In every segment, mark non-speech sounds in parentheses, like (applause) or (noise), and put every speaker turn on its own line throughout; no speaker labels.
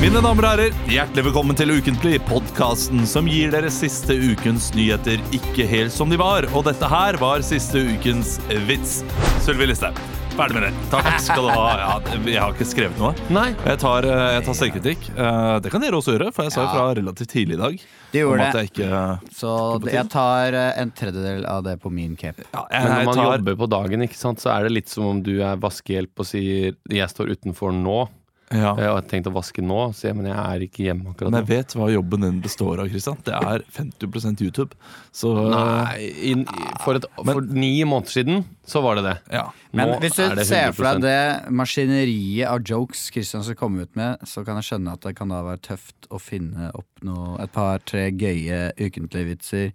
Mine damer og herrer, hjertelig velkommen til Ukentlig, podkasten som gir dere siste ukens nyheter ikke helt som de var. Og dette her var siste ukens vits. Sylvi Listhaug, ferdig med det. Takk skal du ha. Ja, jeg har ikke skrevet noe.
Nei.
Jeg tar, eh, jeg tar selvkritikk. Eh, Det kan dere også gjøre, for jeg sa jo fra relativt tidlig i dag om
Du gjorde
at
det.
jeg ikke
Så det- jeg tar eh, en tredjedel av det på min cape.
ja,
Men når
jeg, jeg
man
tar,
jobber på dagen, ikke sant, så er det litt som om du er vaskehjelp og sier 'jeg står utenfor nå',
ja.
eh, og har tenkt å vaske nå, så jeg, men jeg er ikke hjemme akkurat
Men
nå.
jeg vet hva jobben din består av, Kristian. Det er 50 YouTube. Så eh,
Nei, i, for, et, for ni måneder siden så var det det.
ja.
Men
Nå
hvis
er
du
det
ser for
100%.
deg det maskineriet av jokes Kristian skal komme ut med, så kan jeg skjønne at det kan da være tøft å finne opp noe, et par-tre gøye ukentlige vitser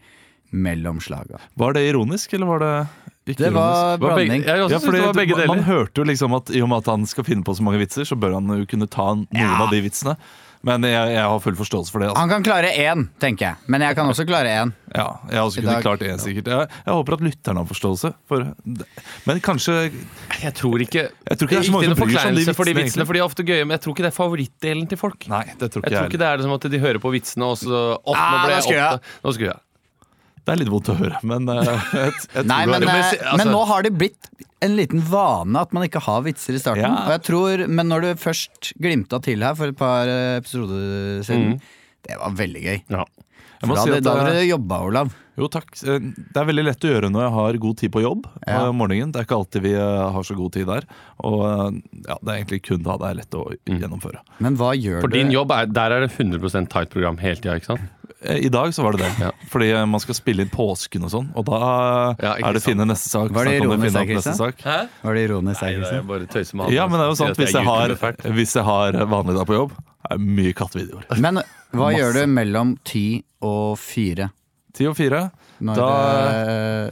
mellom slaga.
Var det ironisk, eller var det ikke
Det
ironisk?
var
Det var begge-
blanding.
Jeg også
Ja,
synes
fordi
det var begge
man,
deler.
man hørte jo liksom at i og med at han skal finne på så mange vitser, så bør han jo kunne ta noen av de vitsene. Men jeg, jeg har full forståelse for det. Altså.
Han kan klare én, tenker jeg. Men jeg kan også klare én.
Ja, jeg har også
I
kunne
dag-
klart det, sikkert. Jeg, jeg håper at lytterne har forståelse. For det. Men kanskje Nei,
Jeg tror ikke
Jeg tror ikke det er så mange
noen
som bryr seg om de
forkleinelse for de
vitsene,
vitsene,
egentlig.
for de er ofte gøye, men jeg tror ikke det er favorittdelen til folk.
det tror ikke
Jeg
jeg.
tror ikke det er det som at de hører på vitsene og så opp, nå
Ah,
ble
nå skrur
jeg
jeg.
opptatt. Nå skrur jeg.
heller. det er litt vondt å høre, men eh,
(laughs)
jeg, (laughs) jeg
Nei,
tror
men,
det er-
men
eh,
se- altså-
men nå har det blitt en liten vane at man ikke har vitser i starten.
Ja.
Og jeg tror, Men når du først glimta til her for et par eh, episoder siden, det var veldig gøy.
Ja.
Mm. jeg må
Da
si
hadde
at
da
det-
hadde du jobba, Olav.
Jo, takk. Eh, Det er veldig lett å gjøre når jeg har god tid på jobb.
Ja.
eh, om morgenen. Det er ikke alltid vi eh, har så god tid der. Og eh, ja, det er egentlig kun da det er lett å
Mm.
gjennomføre.
Men hva gjør
For din
du?
jobb er, der er det 100 tight program hele tida, ikke sant?
Eh, I dag så var det det.
Ja.
Fordi eh, man skal spille inn påsken og sånn. Og da eh,
Ja, ikke
er det
sant.
finne neste sak.
Var det
snakke om
ironisk
finne
der,
opp neste
Christian?
sak.
Hæ?
Var det ironisk?
Nei,
jeg
det
ikke
er
sa?
bare tøyse med han. altså.
Ja, men det er jo
Sier
sant.
at jeg
Hvis jeg har,
YouTube-effekt.
hvis jeg har eh, vanlig dag på jobb, er det mye kattevideoer.
Men hva
Masse.
gjør du mellom ti og fire?
Ti og fire.
Når
Det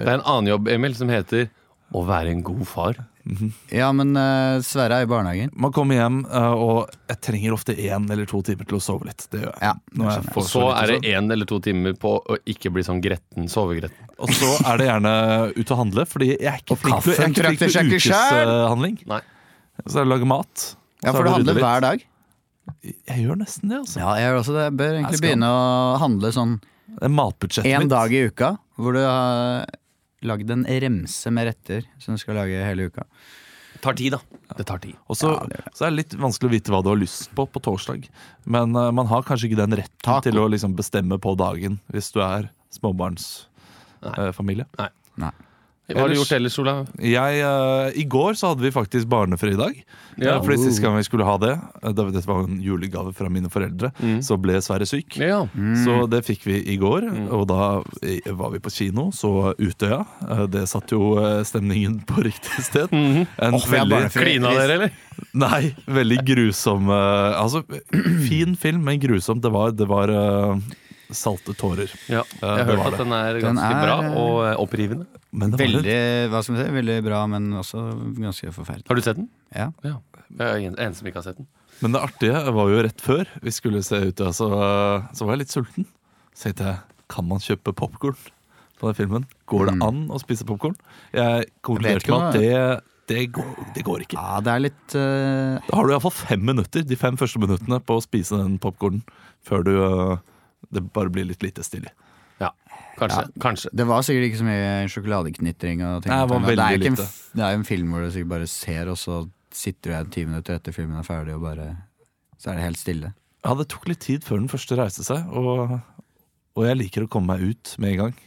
er en annen jobb, Emil, som heter å være en god far.
eh, Ja, men eh, Sverre er i barnehagen.
Man kommer hjem, eh, og jeg trenger ofte én eller to timer til å sove litt. Det gjør jeg.
Ja,
Når jeg får
Og så
lite
er
søvn.
det én eller to timer på å ikke bli sånn gretten, sovegretten.
Og så er det gjerne ut og handle, fordi jeg er ikke
Og
flink til, jeg er
kaffen
ikke flink til
trakter seg ikke selv.
ukeshandling.
Nei.
Så er det å lage mat.
Ja, for du handler hver dag?
Jeg gjør nesten det, altså.
Ja, jeg gjør også det. Jeg bør
Jeg
egentlig
skal-
begynne å handle sånn
Det er matbudsjettet
én
mitt.
dag i uka hvor du har lagd en remse med retter som du skal lage hele uka.
Tar tid, da. Det tar tid.
Og så,
Ja, det
så er det litt vanskelig å vite hva du har lyst på på torsdag. Men eh, man har kanskje ikke den retten
Taco.
til å liksom bestemme på dagen hvis du er småbarnsfamilie.
Nei. Hva har du
Ellers-
gjort ellers, Olav?
Jeg, eh, I går så hadde vi faktisk barnefridag. Ja.
Ja.
Fordi Sist gang vi skulle ha det, eh, da- dette var en julegave fra mine foreldre,
Mm.
så ble Sverre syk.
Ja.
Så det fikk vi i går,
Mm.
og da i- var vi på kino, så Utøya. Eh, Det satte jo eh, stemningen på riktig sted. En
Mm-hmm. vi er
veldig,
barnefri.
Klina dere, eller?
nei, veldig grusom eh, Altså, fin film, men grusom. Det var, det var eh, salte tårer.
Ja.
Ja, det
Jeg har
var
hørt at den er
Den
ganske
er,
bra
eh,
og eh, opprivende.
Men det var litt,
Veldig, hva skal man si, veldig bra, men også ganske forferdelig.
Har du sett den?
Ja.
Ja. Jeg er en- en som ikke har sett den.
men det artige var jo rett før vi skulle se Utøya, så, eh, så var jeg litt sulten. Så tenkte jeg, kan man kjøpe popkorn på den filmen? Går det
Mm.
an å spise popkorn? Jeg
vet
konkluderte
ikke
med at
om
det, det, går, det går ikke.
Ja, det er litt eh,
Da har du iallfall fem minutter, de fem første minuttene, på å spise den popkornen før du øh, det bare blir litt lite stille.
Ja, kanskje. kanskje.
Det var sikkert ikke så mye sjokoladeknitring. Og ting.
Nei, det var
det, er
veldig
ikke en,
lite.
f- det er en film hvor du sikkert bare ser, og så sitter du her ti minutter etter filmen er ferdig, og bare så er det helt stille.
Ja, det tok litt tid før den første reiste seg, og, og jeg liker å komme meg ut med en gang.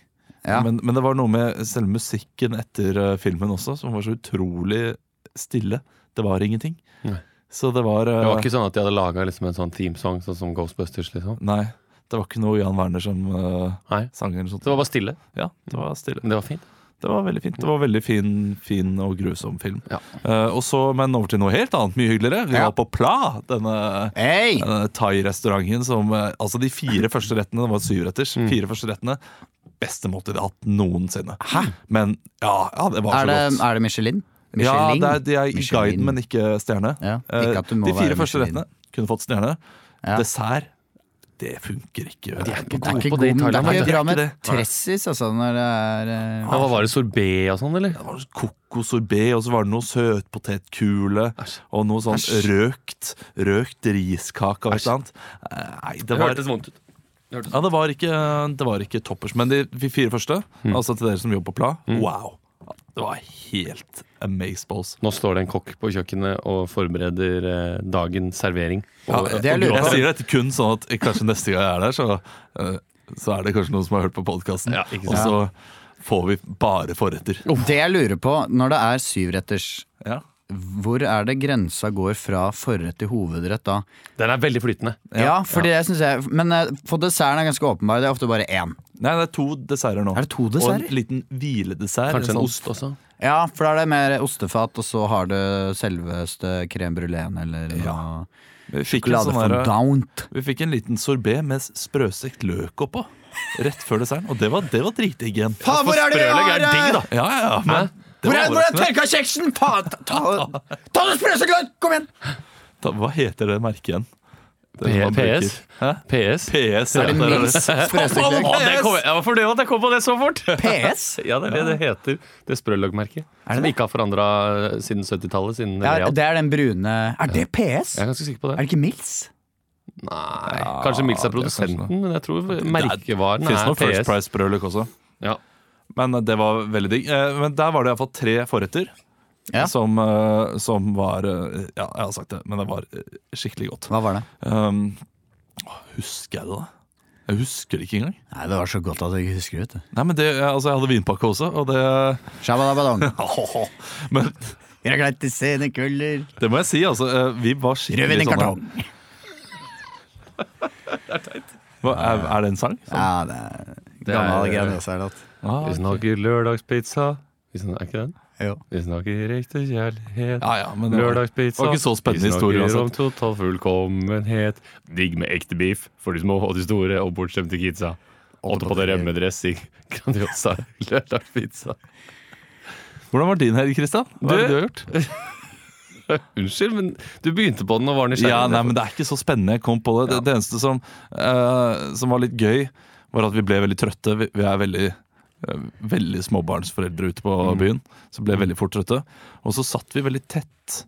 Ja,
Men, men det var noe med selve musikken etter øh, filmen også, som var så utrolig stille. Det var ingenting.
Nei.
Så det var, øh,
Det var ikke sånn at de hadde laga liksom en sånn themesong sånn som Ghostbusters, liksom.
Nei, det var ikke noe Jan Werner som øh,
Nei.
sang eller noe
Det var
sånt.
bare stille.
Ja, det var stille.
Men det var fint.
Det var veldig fint. Det var veldig fin, fin og grusom film.
Ja.
Eh, og så, men over til noe helt annet, mye hyggeligere. Vi
Ja.
var på Pla, denne,
Hei!
denne Eh, thai-restauranten som eh, Altså, de fire første rettene, det var syvretters,
Mm.
fire første rettene Beste måltid jeg har hatt noensinne.
Hæ?
Men ja, ja det var
Er det,
så godt.
er det Michelin?
Ja,
Michelin?
det er, de er i
Michelin.
guiden, men ikke stjerne.
Ja,
Eh,
ikke at det må
de fire
være
første
Michelin.
rettene kunne fått stjerne.
Ja.
Dessert det funker ikke.
De er ikke
Det er
gode
ikke
på det i
god- det
Thailand.
er
vet
det
du.
ikke
er
bra
ikke
med
det. Nei.
tressis, altså, når det er eh,
Ja, hva var det, sorbet og sånn, eller?
Det var kokosorbet, og så var det noe søtpotetkule
Æsj.
og noe sånn
Æsj.
røkt, røkt riskake og et eller annet. Eh, Nei, det var,
vondt ut.
ja, det var ikke, det var ikke toppers. Men de de fire første,
Mm.
altså til dere som jobber på Pla, wow! Det var helt amazeballs.
Nå står det en kokk på kjøkkenet og forbereder eh, dagen servering.
Ja,
Og- eh,
det er
og
lurt.
gråter.
Jeg sier dette kun sånn at kanskje neste gang jeg er der, så, eh, så er det kanskje noen som har hørt på podkasten,
Ja, ikke
og så får vi bare forretter.
Det jeg lurer på, når det er syvretters,
Ja.
hvor er det grensa går fra forrett til hovedrett da?
Den er veldig flytende.
Ja, fordi det synes jeg Men eh, for desserten er ganske åpenbar, det er ofte bare én.
Nei, det er to desserter nå.
Er det to
Og en
desserter?
liten hviledessert.
Kanskje en
sånn-
ost også.
Ja, for da er det mer ostefat, og så har det selveste crème bruléen eller noe
Vi fikk en sånn her-
Sjokoladefondant.
Vi fikk en liten sorbé med sprøstekt løk oppå. Rett før desserten. Og det var, det var dritdigg igjen.
Faen, hvor er det vi
Sprøløk
har eh?
er digg, da.
Ja, ja, ja. Men, det
Hvor er,
var
hvor er
overraskende.
tørka kjeksen? Faen! Ta, ta, ta det sprøeste gløtt! Kom igjen!
Ta- Hva heter det merket igjen? Det
P-
man bruker.
PS?
Hæ?
PS?
PS, ja.
Er det
der er
minst sprøeste
Å,
gløtt?
det kom, jeg, jeg var fornøyd med at jeg kom på det så fort!
PS?
(laughs) Ja, det er det det heter. Det sprølløkmerket. Som ikke har forandra siden 70-tallet. Siden
Ja,
Real.
det er den brune Er det PS?
Jeg er ganske sikker på
Er
det.
det ikke Mills?
Nei, Kanskje Mills er
det er kanskje det.
produsenten, men jeg tror
Det
merkevaren
Finnes
er
noe First
PS.
Price-brødløk også.
Ja.
Men eh, det var veldig digg. Eh, Men der var det iallfall tre forretter.
Ja.
Som, eh, som var eh, Ja, jeg har sagt det, men det var eh, skikkelig godt.
Hva var det?
Um, å, husker jeg det, da? Jeg husker det ikke engang.
Nei, det var så godt at jeg ikke husker det.
Nei, men det, altså, Jeg hadde vinpakke også, og det (laughs)
Shabadabadong. (laughs)
Men
Vi har glemt til sene kvelder.
det må jeg si, altså. eh, Vi var skikkelig
Rødvin i
sånne
kartong.
Hva, er, er det en sang? Sånn.
Ja, det er
Det er-
gammel Grandiosa-låt.
Ah,
Vi snakker lørdagspizza. Vi snakker, er ikke den? Vi snakker ekte kjærlighet.
ja, ja, men det var,
Lørdagspizza.
var ikke så spennende historie
Vi snakker om
uansett.
total fullkommenhet. Digg med ekte beef for de små og de store, og bortskjemte kidsa. Åtte på det rømmedressing. Grandiosa
(laughs)
lørdagspizza.
Hvordan var din helg, Kristian? Hva er det du har gjort?
Unnskyld, men du begynte på den og var nysgjerrig.
Ja, nei, men Det er ikke så spennende. Jeg kom på det. Det, det eneste som, eh, som var litt gøy, var at vi ble veldig trøtte. Vi, vi er veldig eh, Veldig småbarnsforeldre ute på byen, så ble veldig fort trøtte. Og så satt vi veldig tett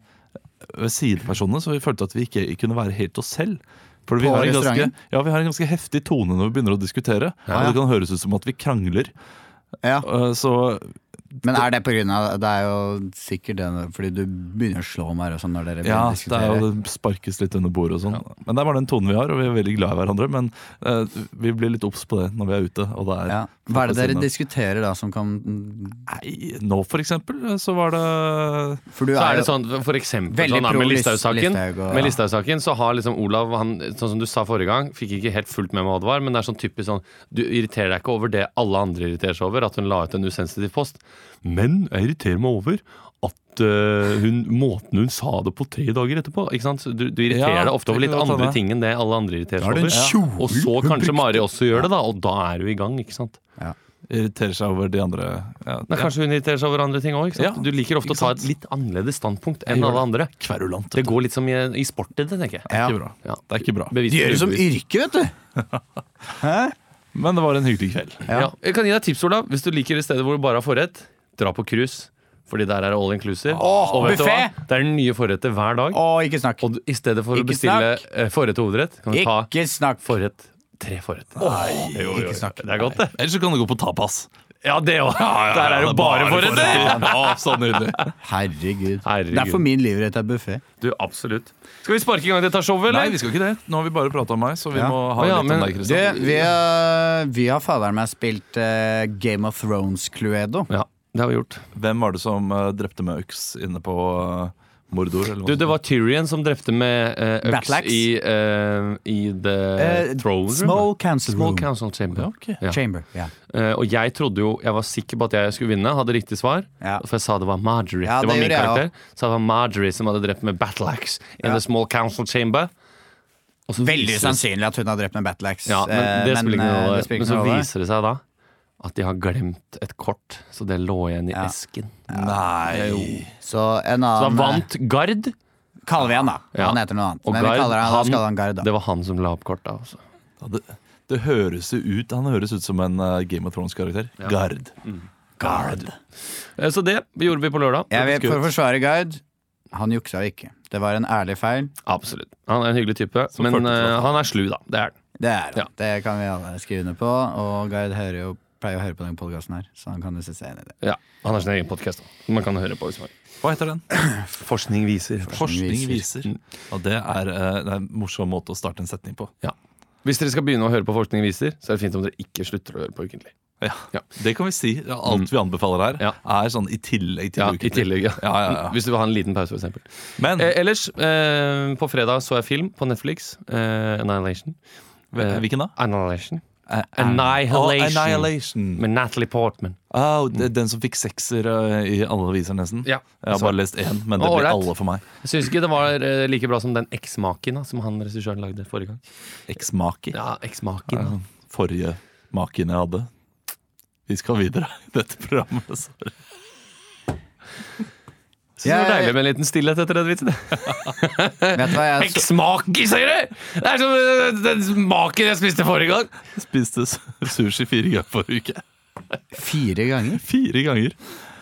ved sidepersonene, så vi følte at vi ikke kunne være helt oss selv. For vi
På
har, en ganske,
restauranten?
ja, vi har en ganske heftig tone når vi begynner å diskutere.
Ja.
Og Det kan høres ut som at vi krangler.
Ja.
Eh, så
Men er det på grunn av Det er jo sikkert det fordi du begynner å slå meg og sånn når dere
Ja, det, er
begynner å diskutere.
jo, det sparkes litt under bordet og sånn. Men det er bare den tonen vi har, og vi er veldig glad i hverandre. Men eh, vi blir litt obs på det når vi er ute. Og det er
Ja. Hva er det dere
Siden-
diskuterer da som kan
Nei, nå for eksempel, eh, så var det
For du
Så er
er
det
jo
sånn, for eksempel
Veldig
sånn, da,
pro
med
Lis-
Listhaug-saken
Listhaug og-
Med Listhaug-saken så har liksom Olav, han, sånn som du sa forrige gang, fikk ikke helt fullt med meg hva det var, men det er sånn typisk sånn Du irriterer deg ikke over det alle andre irriterer seg over, at hun la ut en usensitiv post, men jeg irriterer meg over at øh, hun, måten hun sa det på tre dager etterpå. Ikke sant? Så Du, du irriterer
Ja,
deg ofte over
det
litt
kan godt
andre
hende.
ting enn det alle andre irriterer
Da er
seg over.
det en kjole
Og så kanskje Mari også gjør det, da, og da er du i gang, ikke sant.
eh, irriterer seg over de andre ja,
Nei, kanskje hun irriterer seg over andre ting òg.
Ja,
du liker
ikke
ofte å ta
sant?
et litt annerledes standpunkt
Jeg
enn
gjør
alle andre.
Kverulant.
Det går litt som i, i sport, det, tenker jeg.
Det
ja.
er ikke bra.
Ja.
Det er ikke bra.
Bevis
De gjør det som
for ubevis.
yrke, vet du!
Men det var en hyggelig kveld.
ja. Jeg kan gi deg et tips, Olav. Hvis du liker et sted hvor du bare har forrett, dra på cruise. Fordi der er det all inclusive.
Åh,
Og vet du hva?
buffet!
Det er nye forretter hver dag.
Å, ikke snakk!
Og du, i stedet for å
Ikke
bestille
snakk.
eh, forrett og hovedrett, kan du ta
Ikke snakk!
forrett. Tre forrett. jo, jo, jo.
ikke snakk.
Det er godt, det.
Ellers så kan det gå på tapas.
(laughs) Ja, det òg. Der er det bare forretter!
(laughs) Ja, så nydelig.
Herregud.
Herregud.
Det er for min livrett er buffé.
Du, absolutt. Skal vi sparke i gang dette showet,
Nei,
eller?
vi skal ikke det. Nå har vi bare prata om meg, så vi
Ja.
må ha
Å ja,
litt
men
om deg,
Du,
Kristian.
vi har, vi har faderen meg spilt eh, Game of Thrones-Cluedo.
Ja, det har vi gjort.
Hvem var det som eh, drepte med øks inne på eh, Mordor? Eller noe
Du,
sånt?
det var Tyrion som drepte med eh, øks
Battleaxe?
i, eh, i The Throne Room.
Eh, small Council
Eh, Small
Room.
Council Chamber. Ja.
Chamber. Ja.
Eh, og jeg trodde jo, jeg var sikker på at jeg skulle vinne, hadde riktig svar.
Ja.
For jeg sa det var Marjorie.
Ja,
det var
det
min
gjorde jeg
karakter. Så det var Marjorie som hadde drept med Battleaxe in
Ja.
The Small Council Chamber. Og så
Veldig
viser det-
sannsynlig at hun har drept med battle axe.
Ja, men det
eh,
spiller ikke noe
eh, det
rolle.
spiller
Men
ikke
så
noe rolle.
viser det seg da at de har glemt et kort, så det lå igjen i
Ja. eh,
esken.
Nei
Så en
Så da
annen
vant Gard.
Kaller vi han, da.
Ja.
Han heter noe annet.
Og
Men vi
Gard,
kaller han, da skal han Gard, da.
Det var han som la opp kortet. Altså.
Ja, det, det høres jo ut Han høres ut som en eh, Game of Thrones-karakter.
Ja. Mm.
Gard. Gard.
Eh, Så det gjorde vi på lørdag.
Jeg vil,
Skutt.
for å forsvare Gard, han juksa ikke. Det var en ærlig feil.
Absolutt. Han er en hyggelig type,
Som
men
førte til
eh,
at-
han er slu, da. Det er han.
Det er det.
Ja.
Det kan vi alle skrive under på. Og Gard hører jo, pleier å høre på den podkasten her, så han kan jo se seg enig i det.
Ja, han har sin egen podkast som man kan høre på. hvis man vil.
Hva heter den?
Forskning viser.
Forskning
viser.
viser. Og det er, eh, det er en morsom måte å starte en setning på.
Ja. Hvis dere skal begynne å høre på Forskning viser, så er det fint om dere ikke slutter å høre på Ukentlig.
Ja,
Ja. Mm.
Det kan vi si. Ja, Alt vi anbefaler her,
Ja.
er sånn i tillegg til
Ja,
ukentlig.
i tillegg, ja.
Ja, ja, ja.
Hvis du vil ha en liten pause, for eksempel.
Men
Eh, ellers, eh, på fredag så jeg film på Netflix. Eh, Annihilation. Eh,
hve- eh, hvilken da?
Annihilation.
Eh, Å,
Annihilation.
Annihilation.
Med Natalie Portman.
Au, det er den som fikk sekser eh, i alle aviser, nesten.
Ja,
Jeg har
så-
bare lest én, men det
Å,
blir
ålreit.
alle for meg.
Jeg syns ikke det var eh, like bra som den eksmaken da, som han regissøren lagde forrige gang.
Eksmaki.
Ja, eksmaken da.
Ja, Forrige maken jeg hadde. Vi skal videre i dette programmet. Sorry.
Synes det var
Jeg-
deilig med en liten stillhet etter den vitsen.
Vet du hva
Eh,
jeg så?
Eksmake, sier du! Det er som eh, den maken jeg spiste forrige gang.
Jeg spiste s- sushi fire ganger forrige uke.
Fire ganger?
Fire ganger.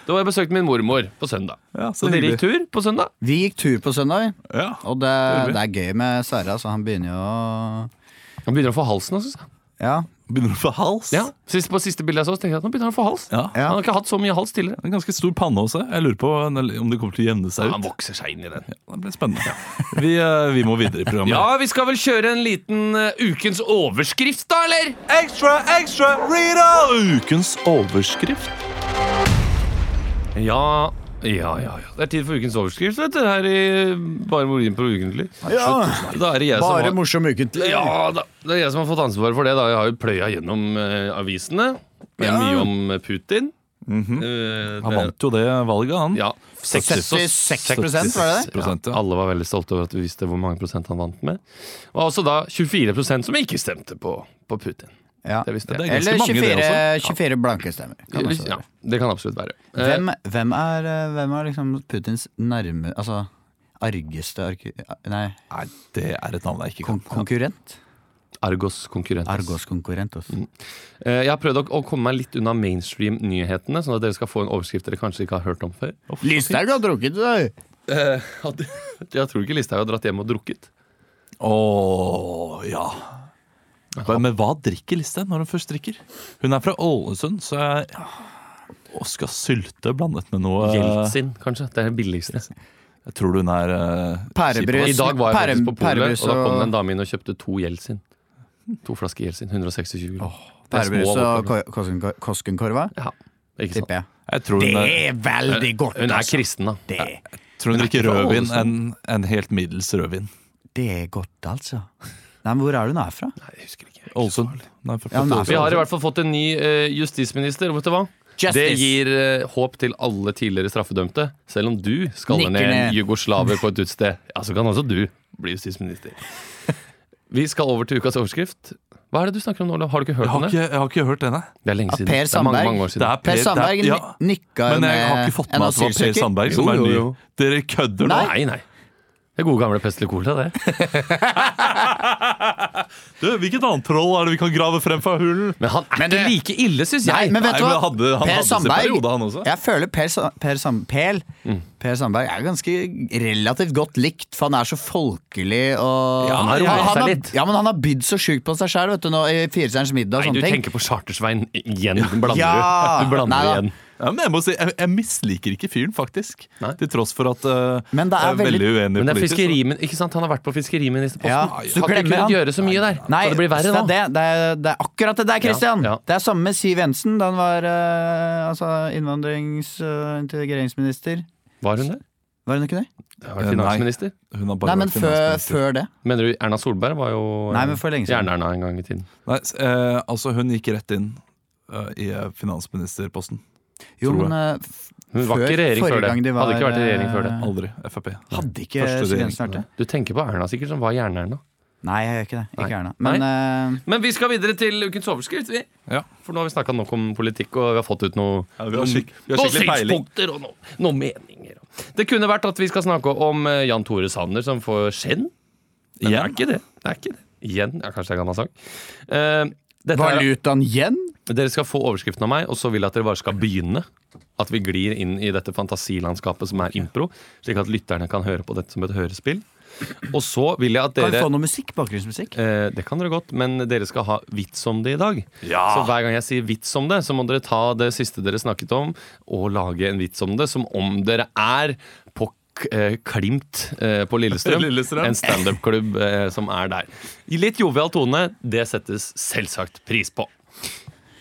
Da var jeg besøkt min mormor på søndag.
Ja,
Så dere gikk tur på søndag?
Vi gikk tur på søndag,
Ja.
og det,
Gjorde vi?
det er gøy med Sverre. Altså, han begynner jo å
Han begynner å få halsen. Synes jeg.
Ja.
Begynner du å få hals?
Ja, sist, På siste bildet jeg så, så tenkte jeg at nå begynner han å få hals.
Ja.
Ja.
Han har ikke hatt så mye hals tidligere.
En ganske stor panne også. Jeg lurer på om det kommer til å jevne seg
Han
ut.
vokser seg inn i den.
Det blir spennende. Vi, eh, vi må videre i programmet.
Ja, vi skal vel kjøre en liten eh, ukens overskrift, da, eller?
Ekstra, ekstra, Rita! Ukens overskrift.
Ja, ja, ja. ja. Det er tid for ukens overskrift, vet du. Her i Bare Morin på ukentlig. Da er det jeg som har...
morsom ukentlig.
Ja da. Det er jeg som har fått ansvaret for det. da Jeg har jo pløya gjennom eh, avisene. Med
Ja.
Mye om Putin. Eh,
Han
det-
vant jo det valget, han.
Ja,
76 var det det?
Prosent, ja.
Alle var veldig stolte over at vi visste hvor mange prosent han vant med. Og også da 24 som ikke stemte på, på Putin.
Ja.
Det visste
Det
jeg.
er ganske
Eller
mange,
24,
det også.
24 blanke stemmer. Kan også være.
Ja, det kan absolutt være. Eh,
Hvem, hvem, er, eh, hvem er liksom Putins nærme Altså argeste arku, Nei,
Nei, det er et navn jeg ikke
kon
kan.
konkurrent?
Argos konkurrent.
Argos-konkurrent. også.
Mm,
Eh, jeg har prøvd å, å komme meg litt unna mainstream-nyhetene, sånn at dere skal få en overskrift dere kanskje ikke har hørt om før.
Lysthaug har drukket deg!
Eh, Hadde- (laughs) Jeg tror ikke Listhaug har dratt hjem og drukket.
Åh, ja. Hva- Men hva drikker Listhaug når hun først drikker? Hun er fra Ålesund, så jeg Oskar Sylte blandet med
Eh.
noe eh,
Jeltsin, kanskje. Det er det
(laughs)
billigste.
Jeg tror hun er eh,
Pærebrus.
I dag var jeg
Pære-
faktisk på polet,
pærebrus
og da kom
og-
det en dame inn og kjøpte to Jeltsin. To flasker Jeltsin. 126 kroner. Det er små
Pærebrus og
vodka.
ko- koskenko- Koskenkorva,
Ja, ikke sant.
tipper jeg.
Jeg tror hun, er,
er veldig godt, altså.
Hun er kristen, da.
Det,
tror hun drikker
fra
rødvin,
Ålesund.
en, en helt middels rødvin.
det er godt, altså. Nei, men Hvor er det hun er fra?
Nei, jeg husker ikke.
Ålesund. Nei, for-
Ja, men det er
Vi
for-
har i hvert fall fått en ny eh, justisminister. Vet du hva? Det gir eh, håp til alle tidligere straffedømte. Selv om du skaller
Nikker
ned en
ned.
jugoslaver
(laughs)
på et utested, ja, så kan også du bli justisminister. Vi skal over til ukas overskrift. Hva er det du snakker om nå, Olav? Har du ikke hørt
jeg, har
om det?
ikke, jeg har ikke hørt den, jeg.
Det er lenge
Ja,
siden.
Per
det er mange,
Sandberg.
mange år
Det
siden.
er
Per
det er-
Sandberg
ja.
ni- nikka jo
Men jeg har
med
ikke fått
eh, en
med at det var Per
asylsøker.
Sandberg
Jo,
som er
jo,
ny.
jo.
Dere kødder nå!
Nei, nei. Det er gode gamle Pestille Cola,
(laughs)
det.
Du, hvilket annet troll er det vi kan grave frem fra hulen?
Men han er
Men det-
ikke like ille, syns jeg.
Nei, men vet
Nei,
du hva?
men hadde- han hadde
per
sin
Sandberg
periode, han også.
Jeg føler Per, Sa- per, Sam, per, per Sandberg er ganske relativt godt likt, for han er så folkelig og
Ja, han har roet seg litt.
Ja, men han har bydd så sjukt på seg sjæl, vet du, nå i Firestjerners middag og
Nei, du
sånne ting.
tenker på Chartersveien igjen. Blander
Ja.
du. Du blander
Nei da.
igjen.
Ja, men jeg, må si, jeg, jeg misliker ikke fyren, faktisk.
Nei.
Til tross for at eh,
Men det er
jeg er veldig,
veldig-
uenig
Men det er
politisk.
fiskerimen, ikke sant? Han har vært på fiskeriministerposten.
Ja,
Har
så
ikke
glemmer
kunnet
han.
gjøre så mye der.
Nei,
så det blir verre
så
nå.
det, det, er, det er akkurat det der, Christian!
Ja, ja.
Det er samme med Siv Jensen. Da han var eh, altså, innvandrings- og integreringsminister.
Var hun det?
Var hun ikke det?
Har vært finansminister?
Hun har bare
Nei, men
vært
før,
finansminister.
før det.
Mener du Erna Solberg var jo
Nei, men for lenge siden.
Jern-Erna en gang i tiden.
Nei, s- eh, altså, hun gikk rett inn eh, i eh, finansministerposten.
Jo,
tror jeg.
men eh, f-
Hun var
Før-
ikke i regjering
forrige
før det.
gang de var,
Hadde ikke vært i regjering før det.
eh,
Aldri. Frp.
hadde ikke
Første
Siv
regjering.
Jensen vært det?
Du tenker på Erna sikkert, som var Jern-Erna.
Nei, jeg gjør ikke det. Ikke
Nei.
Erna. Men eh,
Men vi skal videre til ukens overskrift, vi.
Ja.
For nå har vi snakka nok om politikk, og vi har fått ut noe
Ja, vi har skikk- vi har
noen
skikkelig peiling.
synspunkter og noen, noen meninger. Det kunne vært at vi skal snakke om eh, Jan Tore Sanner som får skjenn. Men det
Igjen?
er ikke det. det, er ikke det. Igjen. Ja, kanskje det er gammel sang. Eh, dette er-
Valutaen yen?
dere skal få overskriften av meg, og så vil jeg at dere bare skal begynne. At vi glir inn i dette fantasilandskapet som er impro, slik at lytterne kan høre på dette som et hørespill. Og så vil jeg at
Kan vi
dere
få noe musikk? Bakgrunnsmusikk?
eh, Det kan dere godt, men dere skal ha vits om det i dag.
Ja.
Så hver gang jeg sier vits om det, så må dere ta det siste dere snakket om, og lage en vits om det, som om dere er på K- eh, Klimt eh, på (laughs) Lillestrøm.
Lillestrøm.
En standup-klubb eh, som er der. I litt jovial tone. Det settes selvsagt pris på.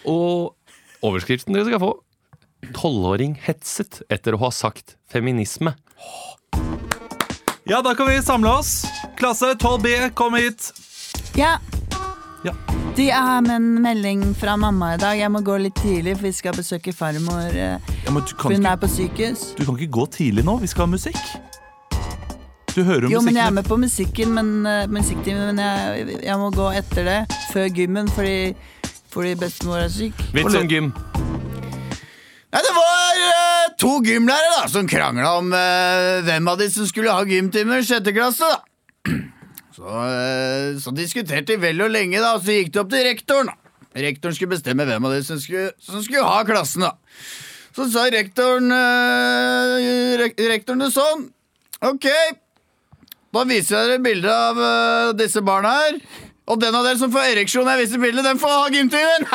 Og overskriften dere skal få Tolvåring hetset etter å ha sagt feminisme.
Ja, da kan vi samle oss. Klasse 12B, kom hit.
Ja.
Ja.
Du, jeg har med en melding fra mamma i dag. Jeg må gå litt tidlig, for vi skal besøke farmor. eh,
Ja, men du
For
kan,
hun
ikke,
er på sykehus.
du kan ikke gå tidlig nå. Vi skal ha musikk. Du hører jo
Jo, men jeg er
musikken.
med på musikken, men, eh, musikktimen, men jeg, jeg må gå etter det. Før gymmen, fordi, fordi bestemor er syk.
Vits om gym.
Nei, det var eh, to gymlærere da, som krangla om eh, hvem av de som skulle ha gymtimer i sjette klasse. da. (clears throat) Så, eh, så diskuterte de vel og lenge, da, og så gikk det opp til rektoren. da. Rektoren skulle bestemme hvem av de som skulle, som skulle ha klassen. da. Så sa rektoren, eh, rek rektoren det sånn. Ok, da viser jeg dere bilde av eh, disse barna her. Og den av dere som får ereksjon, jeg viser bildet, den får ha gymtimer!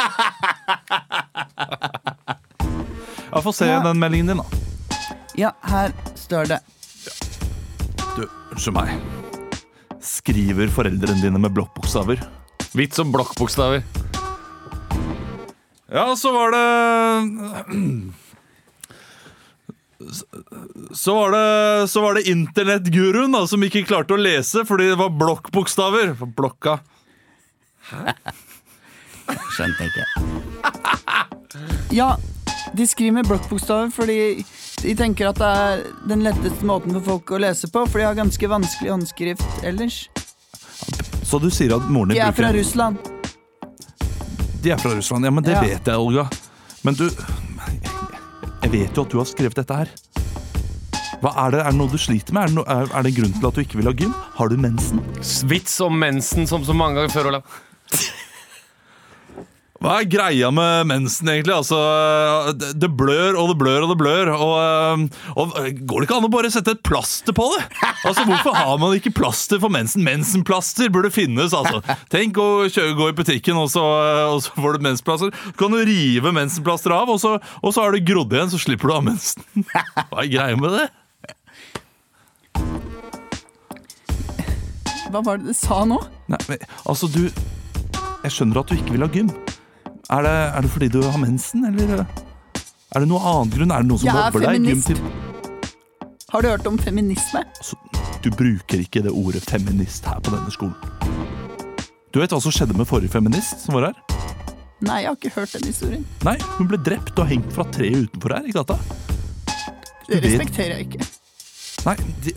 (laughs)
Jeg får se
Ja.
den meldingen din, da.
Ja, her står det.
Du, unnskyld meg. Skriver foreldrene dine med blokkbokstaver?
Vits om blokkbokstaver.
Ja, så var det Så var det, så var det internettguruen da, som ikke klarte å lese fordi det var blokkbokstaver. Blokka.
Skjønte jeg ikke.
(laughs) Ja, de skriver med blokkbokstaver fordi de tenker at det er den letteste måten for folk å lese på, for de har ganske vanskelig håndskrift ellers.
Så du sier at moren
De
din
er fra
bruker
Russland.
De er fra Russland. Ja, men det
Ja.
vet jeg, Olga. Men du Jeg vet jo at du har skrevet dette her. Hva Er det Er det noe du sliter med? Er det, no, er, er det en grunn til at du ikke vil ha gym? Har du mensen?
Vits om mensen som så mange ganger før, Olav.
Hva er greia med mensen, egentlig? Altså, det det blør og det blør og det blør. Og, eh, og eh, Går det ikke an å bare sette et plaster på det? Altså, Hvorfor har man ikke plaster for mensen? Mensenplaster burde finnes, altså. Tenk å kjøre, gå i butikken, og så, eh, og så får du mensenplaster. Så kan du rive mensenplaster av, og så, og så har det grodd igjen, så slipper du å ha mensen. Hva er greia med det?
Hva var det du sa nå?
Nei, men, altså, du Jeg skjønner at du ikke vil ha gym. Er det, er det fordi du har mensen, eller er det noe annen grunn? Er det noe som
Jeg er
mobber deg?
feminist.
Gym til-
Har du hørt om feminisme?
Altså, du bruker ikke det ordet feminist her på denne skolen. Du vet hva som skjedde med forrige feminist som var her?
Nei, jeg har ikke hørt den historien.
Nei, hun ble drept og hengt fra treet utenfor her i gata.
Det
Du vet-
respekterer jeg ikke.
Nei, de,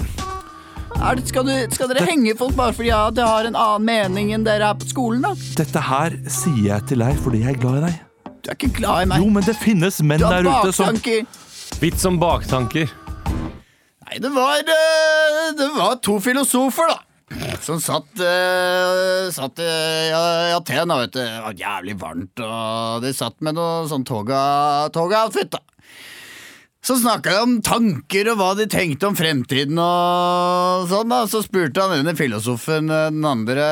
Er det, skal, du, skal dere henge folk bare fordi ja, de har en annen mening enn dere er på skolen, da?
dette her sier jeg til deg fordi jeg er glad i deg.
Du er ikke glad i meg.
Jo, men det finnes menn
du har
der ute som
baktanker.
Vits om baktanker.
Nei, det var, eh, det var to filosofer, da. Som satt, eh, satt eh, i Aten, da, vet du. Det var jævlig varmt, og de satt med noe sånn toga- toga-outfit, da. Så snakka de om tanker og hva de tenkte om fremtiden og sånn, da. Så spurte han denne filosofen eh, den andre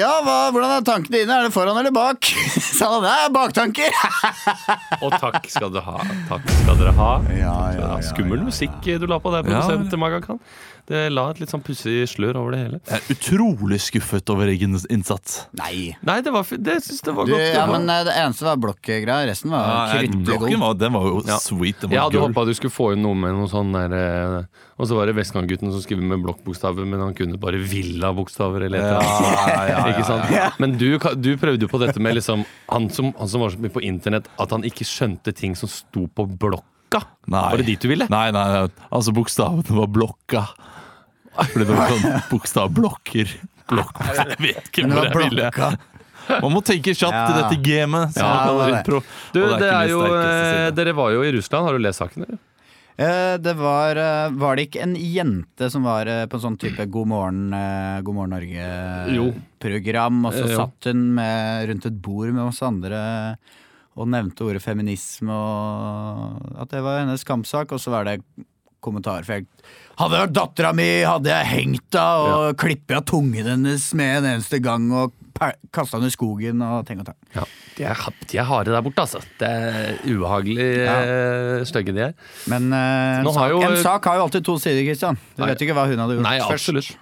Ja, hva, hvordan er tankene dine? Er det foran eller bak? (laughs) Sa han. Det er baktanker! (laughs)
Og takk skal du ha. Takk skal dere ha.
Ja, ja, ja,
Skummel musikk du la på der,
Ja,
produsent Maga Khan. Det la et litt sånn pussig slør over det hele.
Jeg er utrolig skuffet over egen innsats.
Nei.
Nei, det, var, fi- det syns jeg var
Du,
godt.
ja,
det var-
men eh, det eneste var blokkgreia. Resten var krytteblokken.
Blokken var, den var jo
Ja.
sweet.
eh,
Den
jeg
var
hadde
gull.
håpa du skulle få inn noe med noe sånn der eh, Og så var det Vestkantgutten som skriver med blokkbokstaver, men han kunne bare villa-bokstaver eller et eller annet. Ikke sant? Men du, ka- du prøvde jo på dette med liksom han som, han som var så mye på internett, at han ikke skjønte ting som sto på blokka.
Nei.
Var det dit du ville?
Nei, nei, nei. altså bokstavene var blokka. Fordi det var
(laughs)
sånn bokstavblokker. Blokk. Jeg vet ikke
Men det
hvor
var
jeg ville.
blokka.
Man må tenke kjapt i
Ja.
dette gamet. som
Ja,
man kaller
det var det.
impro.
Du,
Og
det er,
ikke min
jo,
sterkeste
eh,
side.
dere var jo i Russland. Har du lest saken, eller?
Eh, Det var, eh, var det ikke en jente som var eh, på en sånn type God morgen, eh, God morgen
Jo.
Norge-program, og så
Eh, jo.
satt hun med, rundt et bord med oss andre og nevnte ordet feminisme og at det var hennes kampsak, og så var det kommentarfelt. Hadde det vært dattera mi, hadde jeg hengt henne og ja. klippa tungen hennes med en eneste gang og kasta henne i skogen og ting og tang.
Ja, de er, hard- de er harde der borte, altså. Det er ubehagelig eh, stygge de er.
Men eh, en,
Nå har
sak,
jo-
en sak har jo alltid to sider, Kristian. Du
Nei.
vet ikke hva hun hadde gjort
Nei,
først.
absolutt.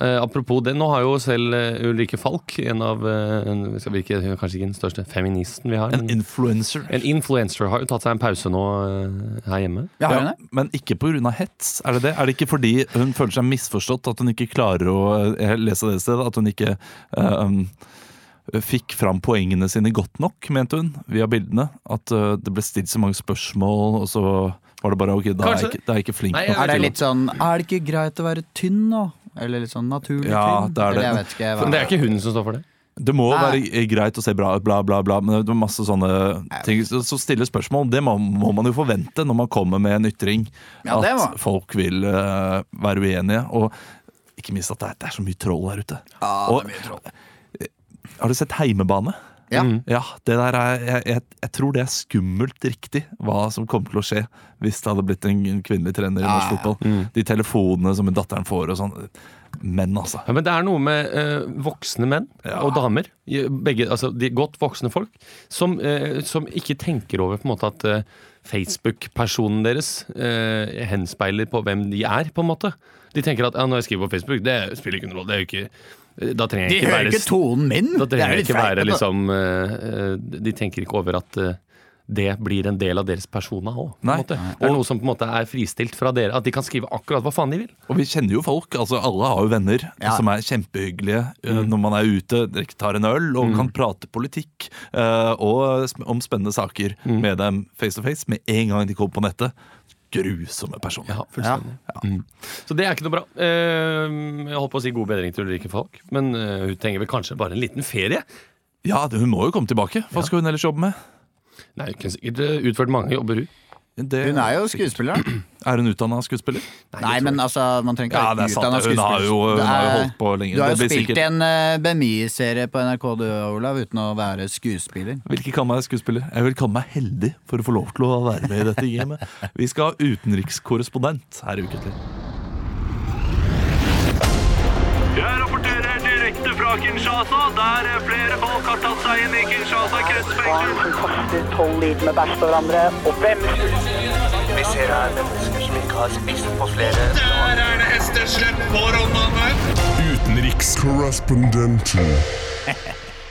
Eh, apropos det, nå har jo selv eh, Ulrikke Falk, en av eh, en, vi skal virke, hun er kanskje ikke den største feministen vi har,
En
men
influencer.
en influencer har jo tatt seg en pause nå eh, her hjemme.
Ja, har hun det?
men ikke pga. hets. Er det det? Er det ikke fordi hun føler seg misforstått, at hun ikke klarer å eh, lese det stedet? At hun ikke eh, um, fikk fram poengene sine godt nok, mente hun, via bildene? At eh, det ble stilt så mange spørsmål, og så var det bare ok, da er
Kanskje.
jeg ikke, da er jeg ikke flink
Nei,
nok.
jeg vet
Er det
ikke.
litt sånn Er det ikke greit å være tynn nå? Eller litt sånn naturlig
Ja,
tynn?
det er det.
Eller jeg vet ikke hva
Men det er ikke hun som står for det.
Det må
Nei.
være eh, greit å se bra, bla, bla, bla, men det er masse sånne ting. Så så stille spørsmål, det må, må man jo forvente når man kommer med en ytring.
Ja, det må-
at folk vil eh, være uenige. Og ikke minst at det er, det er så mye troll der ute. Og- eh, Har du sett Heimebane?
Ja.
Ja, det der er, jeg, jeg, jeg tror det er skummelt riktig hva som kommer til å skje hvis det hadde blitt en, en kvinnelig trener i
Ja,
norsk
ja.
fotball. De telefonene som datteren får og sånn. Men altså.
Ja, men det er noe med eh, voksne menn og damer, i- begge, altså de godt voksne folk, som, eh, som ikke tenker over på en måte at eh, Facebook-personen deres eh, henspeiler på hvem de er, på en måte. De tenker at ja, når jeg skriver på Facebook, det spiller ikke noen rolle, det er jo ikke Da trenger
De
jeg ikke
hører
være
ikke tonen min!
Da
Det er
trenger
jo
jeg
litt altså.
ikke
flaut,
være
dette.
liksom eh, eh, De tenker ikke over at eh, det blir en del av deres persona òg.
Nei.
Det er noe som på en måte er fristilt fra dere. At de kan skrive akkurat hva faen de vil.
Og vi kjenner jo folk. altså Alle har jo venner
Ja. Mm.
som er kjempehyggelige eh, når man er ute, drikker- tar en øl og kan prate politikk eh, og sp- om spennende saker
Mm.
med dem face to face med en gang de kommer på nettet. Grusomme personer.
Ja, fullstendig. Mm. Så det er ikke noe bra. Eh, jeg holdt på å si god bedring til Ulrikke Falk, men eh, hun trenger vel kanskje bare en liten ferie?
Ja, hun må jo komme tilbake. Hva skal hun ellers jobbe med?
Nei, hun kunne sikkert eh, utført mange jobber, hun.
Det,
Hun er jo skuespiller. da.
er hun utdanna skuespiller?
Nei, men altså, man trenger
Ja,
ikke
det
være
er sant.
utdanna
Hun
skuespiller.
har jo, hun
Det
har jo
er-
holdt på lenge.
Du har jo
Det blir
spilt
sikkert-
i en eh, BMI-serie på NRK, du Olav, uten å være skuespiller.
Vil ikke kalle meg skuespiller. Jeg vil kalle meg heldig for å få lov til å være med i dette
(laughs)
gamet. Vi skal ha utenrikskorrespondent her i Ukentlig.
Jeg rapporterer direkte fra Kinshasa, der flere folk har tatt seg inn i Kinshasa kretsfengsel.
barn som kaster tolv liter med bæsj på hverandre. Og hvem
Vi ser her mennesker som ikke har spist på flere
Der er det hesteslett på Rondane.
Utenrikskorrespondenten.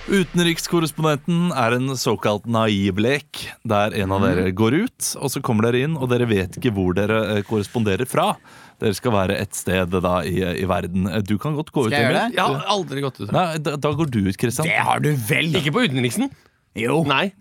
Utenrikskorrespondenten er en såkalt naiv lek, der en av
Mhm.
dere går ut, og så kommer dere inn, og dere vet ikke hvor dere eh, korresponderer fra. Dere skal være et sted da i, i verden. Eh, Du kan godt gå ut,
jeg gjøre det?
Jeg har aldri gått ut.
Nei, da, da går du ut, Kristian.
Det har du vel!
Ikke på utenriksen!
Jo.
Nei,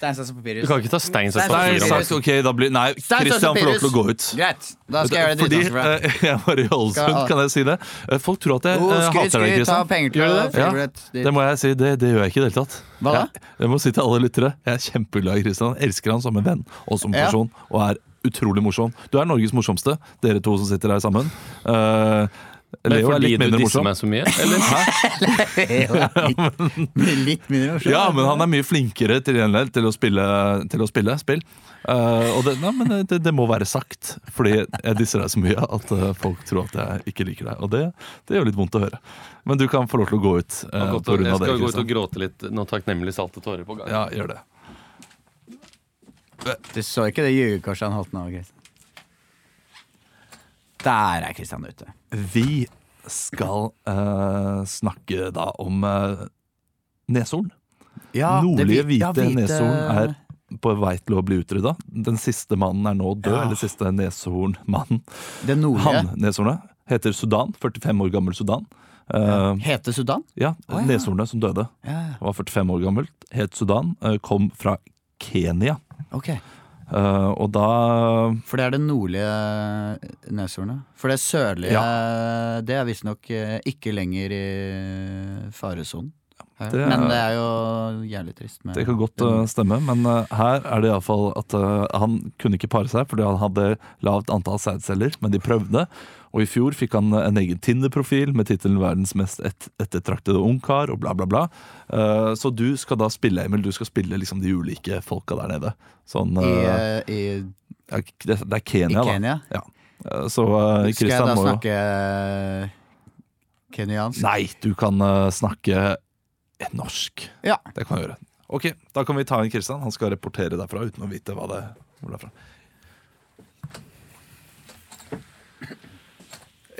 Stein, saks, papir.
du kan ikke ta stein, saks,
Nei,
papir.
sagt, ok, da blir Nei,
Stein, saks,
Kristian får lov til å gå ut.
Greit. Da skal jeg gjøre det
Fordi
utenfor deg.
eh, (laughs) jeg var i
Skal Oh,
Ålesund,
jeg-
kan jeg si det? Eh, Folk tror at jeg
Jo,
eh,
skryt,
hater deg,
skryt. Ta
Kristian.
penger til
Gjør du det?
favorite ditt.
Ja, det må jeg si. Det, det gjør jeg ikke i det hele tatt.
Hva da?
Jeg, jeg må si til alle lyttere jeg er kjempeglad i Kristian. Elsker han som en venn og som
Ja.
person. Og er utrolig morsom. Du er Norges morsomste, dere to som sitter her sammen. Eh,
Men
Leo er
fordi
litt
du
mindre
disser
morsom.
meg så mye? Eller?
Litt- Litt mindre morsomt.
Ja, men han er mye flinkere til, gjengjeld til, å, spille, til å spille spill. Eh, og det, nei, men det, det må være sagt, fordi jeg disser deg så mye at eh, folk tror at jeg ikke liker deg. Og det, det gjør litt vondt å høre. Men du kan få lov til å gå ut. eh,
Jeg
på grunn av det,
skal gå ut
Kristian.
og gråte litt noen takknemlig salte tårer på gangen.
Ja, gjør det.
Du så ikke det ljugekorset han holdt nå, Kristian? Der er Kristian ute.
Vi skal eh, snakke da om eh, neshorn.
Ja,
Nordlige
det vi-
hvite,
ja, hvite-
neshorn er på vei til å bli utrydda. Den siste mannen er nå død,
Ja.
eller siste neshornmannen.
Det nordlige
Han, neshornet, heter Sudan. 45 år gammel Sudan. Eh,
heter Sudan?
ja,
ja.
Neshornet som døde,
Ja,
var 45 år gammelt. Het Sudan. eh, kom fra Kenya.
ok.
Eh, og da
For det er det nordlige neshornet. For det sørlige, det er visstnok eh, ikke lenger i faresonen.
Det,
Men det
er,
er jo jævlig trist. Med
det kan godt eh, stemme, men eh, her er det iallfall at eh, han kunne ikke pare seg fordi han hadde lavt antall sædceller, men de prøvde. Og i fjor fikk han en egen Tinder-profil med tittelen 'Verdens mest et ettertraktede ungkar' og bla, bla, bla. Eh, så du skal da spille, Emil, du skal spille liksom de ulike folka der nede. Sånn
I,
eh,
eh, i,
ja, det, det er
i
Kenya, da.
Kenya.
Eh, Så
Skal
uh,
jeg
Christian
da
må jo
snakke eh, kenyansk?
Nei, du kan eh, snakke norsk.
Ja.
Det kan du gjøre. Ok, Da kan vi ta inn Kristian. Han skal rapportere derfra uten å vite hva det hvor det er fra.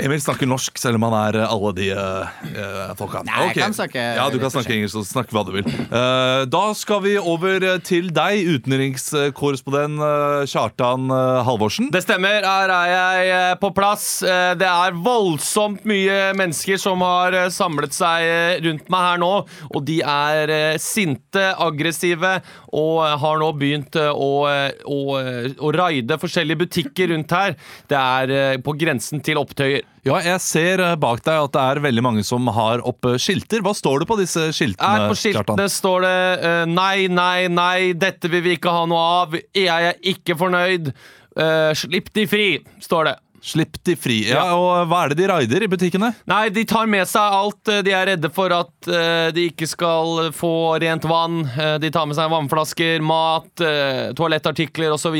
Emil snakker norsk, selv om han er eh, alle de eh, eh, folka.
Nei, jeg
Ok.
kan snakke
Ja, du kan
litt
snakke engelsk og snakke hva du vil. Eh, da skal vi over eh, til deg, utenrikskorrespondent eh, Kjartan eh, Halvorsen.
Det stemmer. Her er jeg eh, på plass. Eh, Det er voldsomt mye mennesker som har eh, samlet seg eh, rundt meg her nå. Og de er eh, sinte, aggressive og eh, har nå begynt eh, å, eh, å, eh, å raide forskjellige butikker rundt her. Det er eh, på grensen til opptøyer.
Ja, jeg ser eh, bak deg at det er veldig mange som har oppe skilter. Hva står det på disse
Her
skiltene?
på skiltene
Kjartan?
står det eh, Nei, nei, nei, dette vil vi ikke ha noe av. Jeg er ikke fornøyd. Eh, slipp de fri, står det.
Slipp de fri. Ja, og hva er det de raider i butikkene?
Nei, de tar med seg alt. eh, De er redde for at eh, de ikke skal få rent vann. Eh, De tar med seg vannflasker, mat, eh, toalettartikler osv.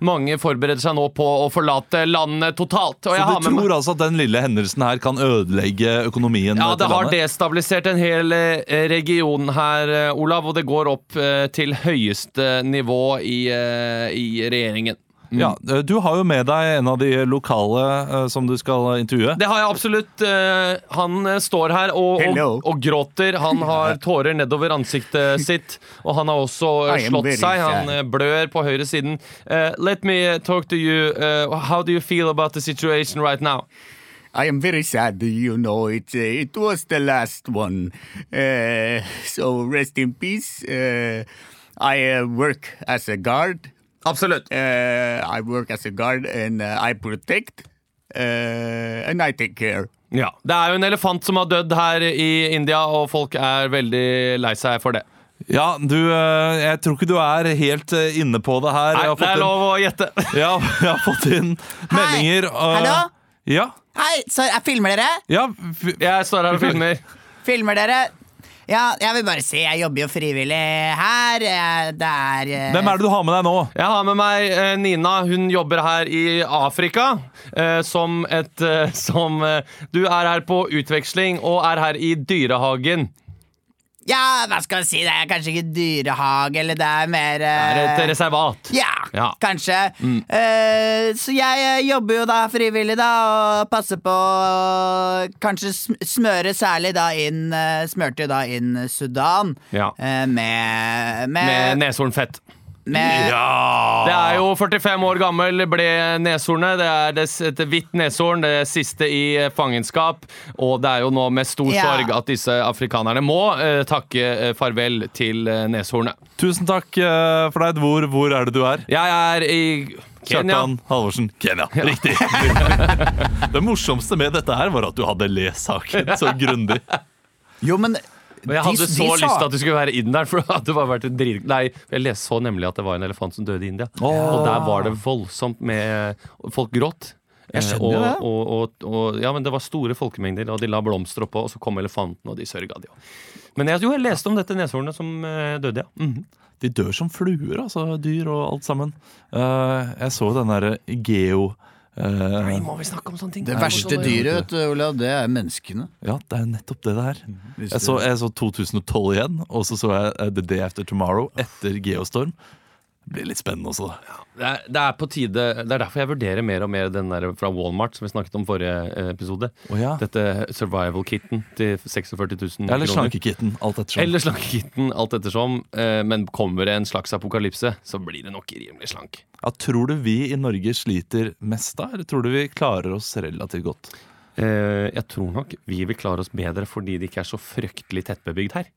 Mange forbereder seg nå på å forlate landet totalt. Og jeg
Så
har
du
med meg-
tror altså at den lille hendelsen her kan ødelegge økonomien
ja,
til
det har
landet?
destabilisert en hel eh, region her, eh, Olav, og det går opp eh, til høyeste nivå i, eh, i regjeringen.
Ja, eh, du har jo med deg en av de lokale eh, som du skal intervjue.
Det har jeg absolutt. Eh, Han eh, står her og,
Hello.
og, og gråter. Han
(laughs)
har tårer nedover ansiktet sitt, og han har også eh,
I am
slått
very
seg. Han
sad.
eh, blør på høyre siden. Eh, let me eh, talk to you. Eh, how do you feel about the situation right now?
I am very sad, you know it. eh, It was the last one. Uh, so rest in peace. Uh, I uh, work as a guard.
Absolutt.
Uh, I work as a guard and uh, I protect uh, and I take care.
Ja. Det er jo en elefant som har dødd her i India, og folk er veldig lei seg for det.
Ja, du, eh, jeg tror ikke du er helt eh, inne på det her.
Nei,
Jeg har
det
fått
er
inn-
lov å gjette. (laughs)
Ja, (laughs) jeg har fått inn meldinger. eh,
Hallo?
Ja,
Hei, så jeg filmer dere?
ja, f-
Jeg står her og filmer.
Filmer dere? Ja, jeg vil bare si, jeg jobber jo frivillig her. eh, Det er eh,
Hvem er det du har med deg nå?
Jeg har med meg eh, Nina. Hun jobber her i Afrika eh, som et eh, (laughs) Som eh, Du er her på utveksling og er her i dyrehagen.
Ja, hva skal jeg si, det er kanskje ikke dyrehage, eller det er mer
Det er et
eh,
reservat.
Ja,
Ja.
kanskje. Eh, så jeg eh, jobber jo da frivillig, da, og passer på å kanskje sm- smøre særlig da inn eh, Smørte jo da inn Sudan
Ja.
eh, med
Med
Med,
neshornfett.
med
Det er jo 45 år gammel ble neshornet. Det er det, s- et hvitt neshorn, det siste i eh, fangenskap. Og det er jo nå med stor
Ja.
sorg at disse afrikanerne må eh, takke eh, farvel til eh, neshornet.
Tusen takk eh, for deg. Hvor, hvor er det du er?
Jeg er i Kenya.
Kjartan Halvorsen. Kenya. Riktig. (laughs) det morsomste med dette her var at du hadde lest saken så grundig.
Jo, men
Men jeg hadde
de,
så
de
lyst til
sa-
at du skulle være inn der. For det hadde bare vært en drit... Nei, Jeg leste så nemlig at det var en elefant som døde i India. Og der var det voldsomt med Folk gråt. Jeg og,
skjønner det.
Og, og, og, ja, men det var store folkemengder, og de la blomster oppå, og så kom elefanten, og de sørga, de òg. Men jeg, jo, jeg leste om dette neshornet som eh, døde, ja. Mhm.
De dør som fluer, altså. Dyr og alt sammen. Eh, jeg så den derre geo... eh,
Nei, må vi snakke om sånne ting?
Det verste dyret, vet du, Olav, det er menneskene.
ja, det er jo nettopp det det er.
Mhm.
Jeg så, jeg så 2012 igjen, og så så jeg eh, The Day After Tomorrow etter Geostorm. Det blir litt spennende også.
Det er, det er på tide Det er derfor jeg vurderer mer og mer den der fra Walmart som vi snakket om forrige eh, episode.
Å ja.
Dette survival-kitten til 46 000
Eller
kroner.
slankekitten, alt ettersom.
Eller slankekitten, alt ettersom. Eh, Men kommer det en slags apokalypse, så blir det nok rimelig slank.
Ja, tror du vi i Norge sliter mest da, eller tror du vi klarer oss relativt godt?
Eh, Jeg tror nok vi vil klare oss bedre fordi det ikke er så fryktelig tettbebygd her.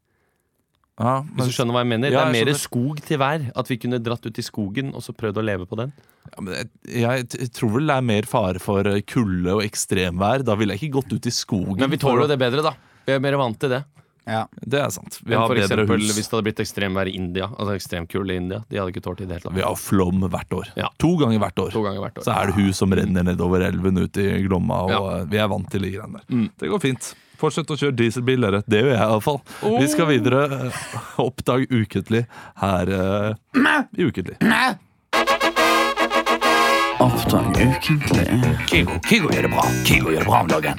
Ja,
Hvis du skjønner hva jeg mener Det
Ja,
er
jeg
mer
skjønner.
skog til hver. At vi kunne dratt ut i skogen og så prøvd å leve på den.
Ja, men jeg, jeg t- tror vel det er mer fare for eh, kulde og ekstremvær. Da ville jeg ikke gått ut i skogen.
Men vi tåler jo det bedre, da. Vi er mer vant til det.
Ja.
Det er sant. Vi
Men
har
for
bedre
eksempel,
hus.
Hvis det hadde blitt ekstremvær i India, altså ekstremkulde i India De hadde ikke tålt det i det hele tatt.
Vi har flom hvert år.
Ja.
To ganger hvert år.
To ganger hvert år.
Så er det hus som renner nedover elven ut i Glomma, og
Ja. Mm.
eh, vi er vant til de greiene der. Det går fint. Fortsett å kjøre dieselbil, dere. Det gjør jeg iallfall. Vi
Oh.
skal videre. eh, Oppdag ukentlig her eh, i Ukentlig.
Oppdrag ukentlig.
Kygo, Kygo gjør det bra. Kygo gjør det bra om dagen.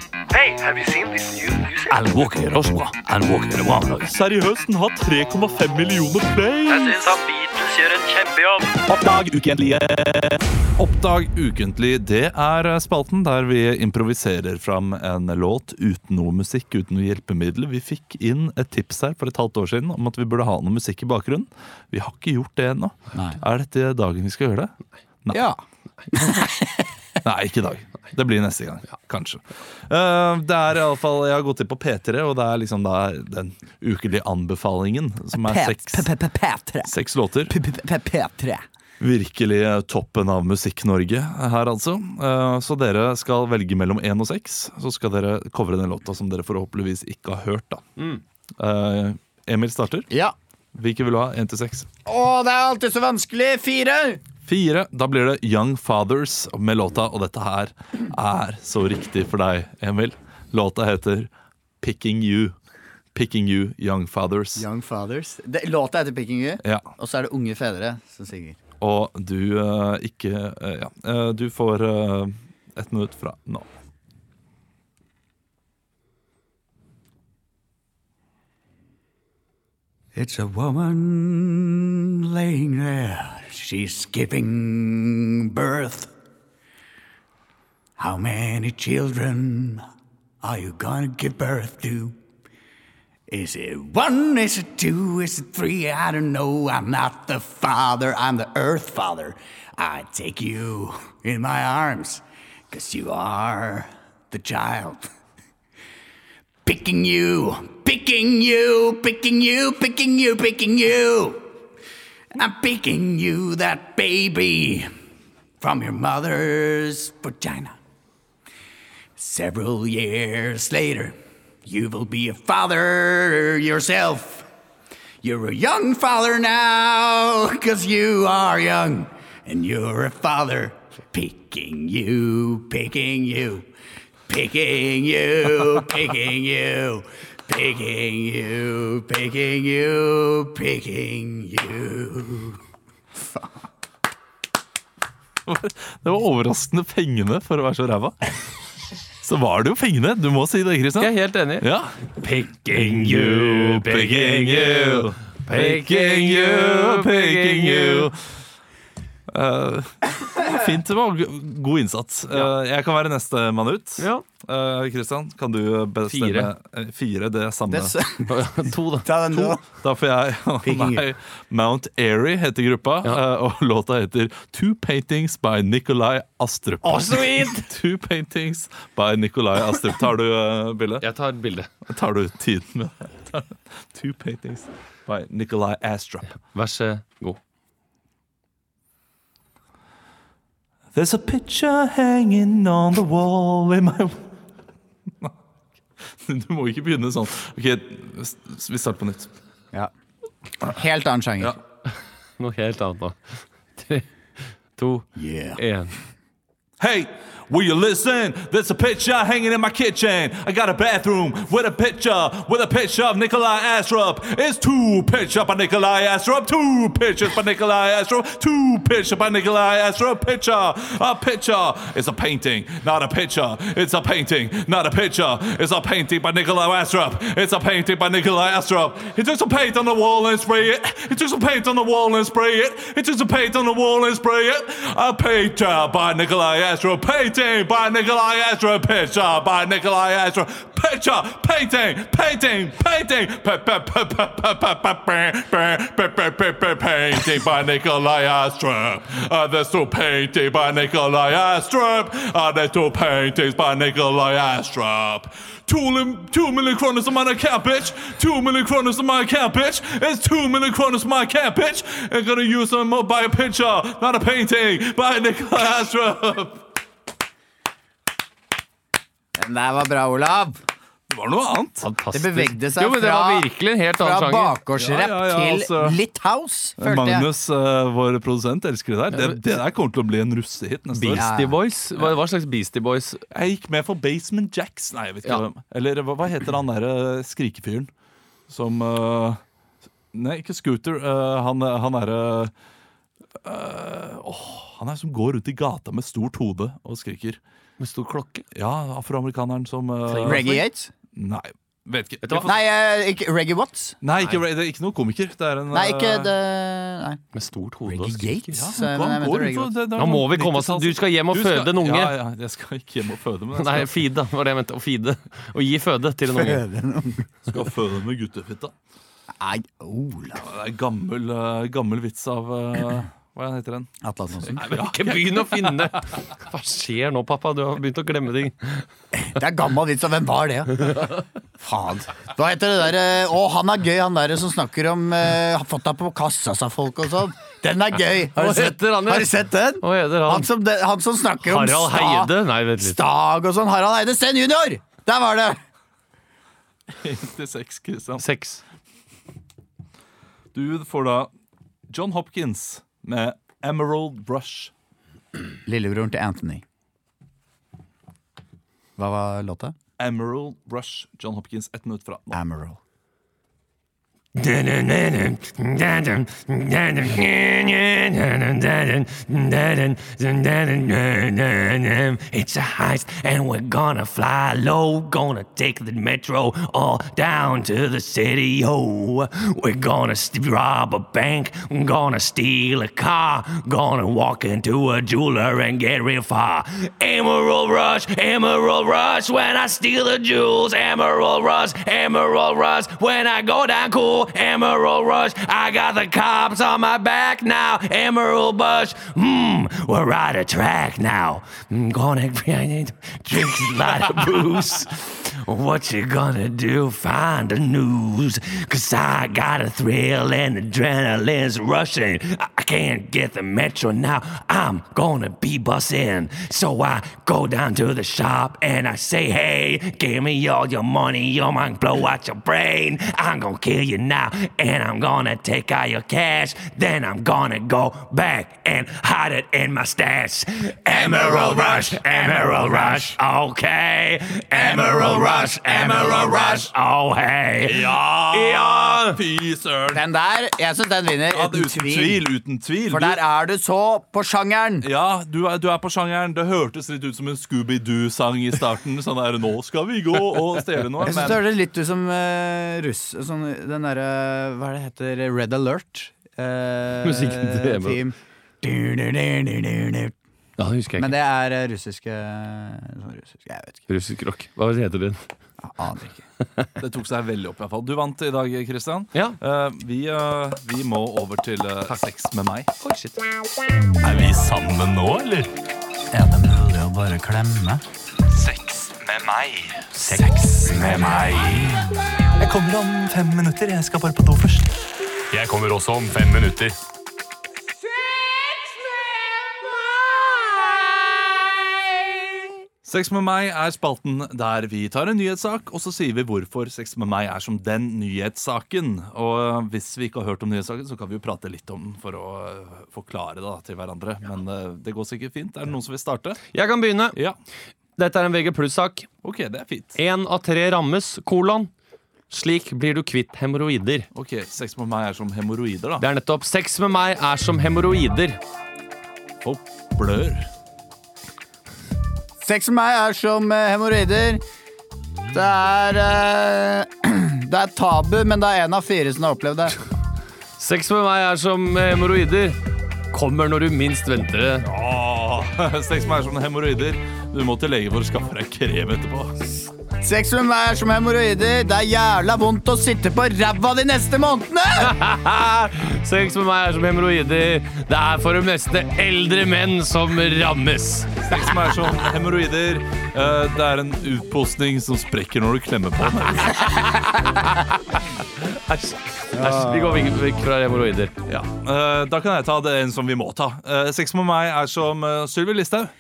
Alan Walker gjør det også bra. Alan Walker gjør det bra om dagen.
Seriøst, den har 3,5 millioner play!
Jeg syns at Beatles gjør en kjempejobb.
Oppdag ukentlige. Oppdag ukentlig, det er spalten der vi improviserer fram en låt uten noe musikk, uten noe hjelpemiddel. Vi fikk inn et tips her for et halvt år siden om at vi burde ha noe musikk i bakgrunnen. Vi har ikke gjort det ennå. Er dette dagen vi skal gjøre det? Nei.
ja.
Nei, ikke i dag. Det blir neste gang. Kanskje. Eh, det er i alle fall, Jeg har gått inn på P3, og det er liksom da den ukelige anbefalingen, som er seks,
P3.
seks låter.
P3.
Virkelig toppen av Musikk-Norge her, altså. Eh, Så dere skal velge mellom én og seks. Så skal dere covre den låta som dere forhåpentligvis ikke har hørt, da. Eh, Emil starter.
Ja.
Hvilke vil du ha? Én til seks?
Å, det er alltid så vanskelig! Fire!
Fire. Da blir det Young Fathers med låta, og dette her er så riktig for deg, Emil. Låta heter Picking You. Picking You, Young Fathers.
Young Fathers. Det, låta heter Picking You,
Ja,
og så er det Unge fedre som synger.
Og du eh, ikke eh, Ja. Eh, du får uh, ett minutt fra nå.
It's a woman laying there. She's giving birth. How many children are you gonna give birth to? Is it one? Is it two? Is it three? I don't know. I'm not the father. I'm the earth father. I take you in my arms because you are the child. Picking you, picking you, picking you, picking you, picking you. I'm picking you, that baby, from your mother's vagina. Several years later, you will be a father yourself. You're a young father now, 'cause you are young, and you're a father. Picking you, picking you, picking
(laughs)
you, picking you, picking you, picking you, picking you.
(laughs) Det var overraskende pengene for å være så ræva. Så var det jo pengene. Du må si det, Kristian.
Jeg er helt enig.
Ja.
Picking you, picking you, picking you, picking you.
Eh, fint. Det var go- god innsats. Eh, jeg kan være neste mann ut.
Ja.
Eh, Kristian, kan du bestemme
Fire.
Eh, fire det er samme.
(laughs) to, da.
Ta den nå.
Da får jeg (laughs)
Picking
Nei, Mount Airy heter gruppa, eh, og (laughs) låta heter Two Paintings by Nikolai Astrup. (laughs) Two Paintings by Nikolai Astrup. Tar du eh, bildet?
Jeg tar bilde.
Tar du tiden med (laughs) det? Two Paintings by Nikolai Astrup.
Vær så god.
There's a picture hanging on the wall in my (laughs) Du må ikke begynne sånn. Ok, s- s- vi starter på nytt.
Ja.
Helt annen sjanger.
Noe helt annet nå. (laughs) Tre, to,
Yeah.
én.
Hey, will you listen? There's a picture hanging in my kitchen. I got a bathroom with a picture, with a picture of Nikolai Astrup. It's two picture by Nikolai Astrup, two pictures by Nikolai Astrup, two picture by Nikolai Astrup. Picture, a picture. It's a painting, not a picture. It's a painting, not a picture. It's a painting by Nikolai Astrup. It's a painting by Nikolai Astrup. He took some paint on the wall and spray it. He took some paint on the wall and spray it. He took some paint on the wall and spray it. A painter by Nikolai Astrup. Painting by Nikolai Astrup. Picture by Nikolai Astrup. Picture, painting, painting, painting. Pa- pa- pa- pa- pa- pa- pa- pa- pa- pa- pa- pa- pa- Painting by Nikolai Astrup. Uh, there's two painting by Nikolai Astrup. Uh, there's two paintings by Nikolai Astrup. Two, lim- two million kroners on my account, bitch. Two million kroners on my account, bitch. It's two million kroners on my account, bitch. I'm gonna use them up by a picture, not a painting, by Nikolai Astrup.
Den der var bra, Olav.
Det var noe annet.
Fantastisk.
Det bevegde seg
jo, men det
fra-
var virkelig en helt
Fra
annen sjanger.
bakgårdsrapp
Ja, ja, ja, altså.
til litt house, følte jeg.
Magnus, eh, vår produsent, elsker det der. Det, det der kommer til å bli en russehit neste år.
Beastie Boys? Hva, hva slags Beastie Boys?
Jeg gikk med for Basement Jacks. Nei, jeg vet ikke
Ja.
hvem. Eller hva, hva heter han derre skrikefyren som eh, Nei, ikke Scooter. eh, han han derre Han er som går ut i gata med stort hode og skriker.
Med stor klokke?
Ja, afroamerikaneren som eh,
Reggae Yates?
Nei, vet ikke.
du hva?
Nei, eh, ikke, Reggae Watts?
Nei, ikke, det er ikke noen komiker. Det er en
Nei, ikke
eh,
det Nei.
Med stort hode og
Reggae
skriker.
Yates?
ja,
eh, men jeg
han
mente
går
Reggae
ut
Watts.
for- det- det er
Nå må vi komme oss
90-talls-
Du skal hjem og
Du skal-
føde en unge.
Ja, ja, jeg skal ikke hjem og føde, men jeg
(laughs) Nei,
skal,
feed, da. Var det jeg mente. Å feede. Å gi føde til en unge.
skal føde med guttefitta.
Nei, Olav.
Det er gammel, eh, gammel vits av eh, Hva heter den? (laughs)
Atle Antonsen.
Nei, men ja.
Ikke begynn å finne! Hva skjer nå, pappa? Du har begynt å glemme ting.
Det er gammel vits, og hvem var det? Faen. Hva heter det derre Å, han er gøy, han derre som snakker om eh, Har fått deg på kassa, sa folk og sånn. Den er gøy. Har
Hva
du sett,
heter han, ja?
har du sett den?
Hva heter han?
Han som, de, han som snakker om
Harald
sta-
Heide? Nei, vent litt.
Stag og sånn. Harald Heide Steen junior! Der var det!
96, Kristian.
Seks.
Du får da John Hopkins med Emerald Brush.
Lillebroren til Anthony. Hva var låta?
Emerald Brush, John Hopkins, ett minutt fra nå.
Amaral.
It's a heist and we're gonna fly low. Gonna take the metro all down to the city. Oh, we're gonna st- rob a bank. Gonna steal a car. Gonna walk into a jeweler and get real far. Emerald Rush, Emerald Rush. When I steal the jewels, Emerald Rush, Emerald Rush. When I go down cool, Emerald Rush. I got the cops on my back now, Emerald Bush. Mmm, we're right a track now. I'm gonna (laughs) drink a lot of booze. What you gonna do? Find the news. Cause I got a thrill and adrenaline's rushing. I I can't get the metro now. I'm gonna be bussing. So I go down to the shop and I say, hey, give me all your money. You're my blow out your brain. I'm gonna kill you now and I'm gonna take all your cash. Then I'm gonna go back and hide it in my stash. Emerald Rush, Emerald Rush, okay. Emerald Rush, Emerald Rush, oh hey.
Ja! Fy søren!
Den der, jeg syns den vinner.
Ja, uten tvil, uten tvil.
For der er du så på sjangeren.
Du, ja, du er, du er på sjangeren. Det hørtes litt ut som en Scooby-Doo-sang i starten. Sånn der, nå skal vi gå og stjele noe.
Jeg synes det
Men
høres litt ut som eh, russ sånn, Den derre Hva er det heter? Red Alert.
(laughs)
eh,
Musikken til Emil.
team. Du-du-du-du-du-du.
Ja, det husker jeg
Men
ikke.
det er eh, russiske sånn russisk, Jeg vet ikke.
Russisk rock. Hva heter den?
Jeg aner ikke.
det tok seg veldig opp, i hvert fall. Du vant i dag, Kristian.
Ja.
Eh, vi, eh, vi må over til eh, sex med meg.
Er vi sammen nå, eller?
Er det mulig å bare klemme?
Sex med meg. Sex med meg. Jeg kommer om fem minutter. Jeg skal bare på do først. Jeg kommer også om fem minutter.
Sex med meg er spalten der vi tar en nyhetssak, og så sier vi hvorfor sex med meg er som den nyhetssaken. Og eh, hvis vi ikke har hørt om nyhetssaken, så kan vi jo prate litt om den for å øh, forklare det da, til hverandre. Men øh, det går sikkert fint. Er det noen som vil starte?
Jeg kan begynne.
Ja.
Dette er en VG pluss-sak.
OK, det er fint.
Én av tre rammes, kolon. Slik blir du kvitt hemoroider.
Ok, Sex med meg er som hemoroider, da.
Det er nettopp sex med meg er som hemoroider.
Folk blør.
Sex med meg er som eh, hemoroider. Det er eh, (clears throat) Det er tabu, men det er én av fire som har opplevd det.
Sex med meg er som hemoroider. Kommer når du minst venter det.
Åh, (laughs) sex med meg er som hemoroider. Du må til lege for å skaffe deg krem etterpå.
Sex med meg er som hemoroider. Det er jævla vondt å sitte på ræva de neste månedene!
Sex med meg er som hemoroider. Det er for de meste eldre menn som rammes.
Sex med meg er som hemoroider. Eh, Det er en utposting som sprekker når du klemmer på
(laughs)
den.
Æsj. Æsj. Vi går vekk- vekk fra hemoroider.
Ja, eh, Da kan jeg ta det en som vi må ta. Eh, sex med meg er som uh, Sylvi Listhaug.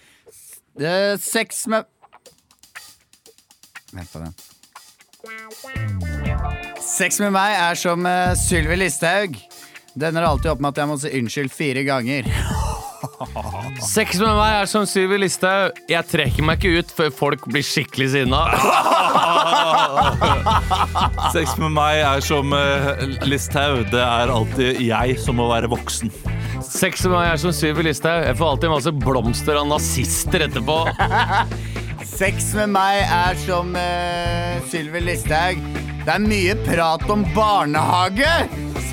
Det er sex med Vent på den. Sex med meg er som uh, Sylvi Listhaug. Det ender alltid opp med at jeg må si unnskyld fire ganger. (laughs)
Sex med meg er som Sylvi Listhaug. Jeg trekker meg ikke ut før folk blir skikkelig sinna.
Sex med meg er som eh, Listhaug. Det er alltid jeg som må være voksen.
Sex med meg er som Sylvi Listhaug. Jeg får alltid masse blomster av nazister etterpå.
Sex med meg er som uh, Sylvi Listhaug. Det er mye prat om barnehage!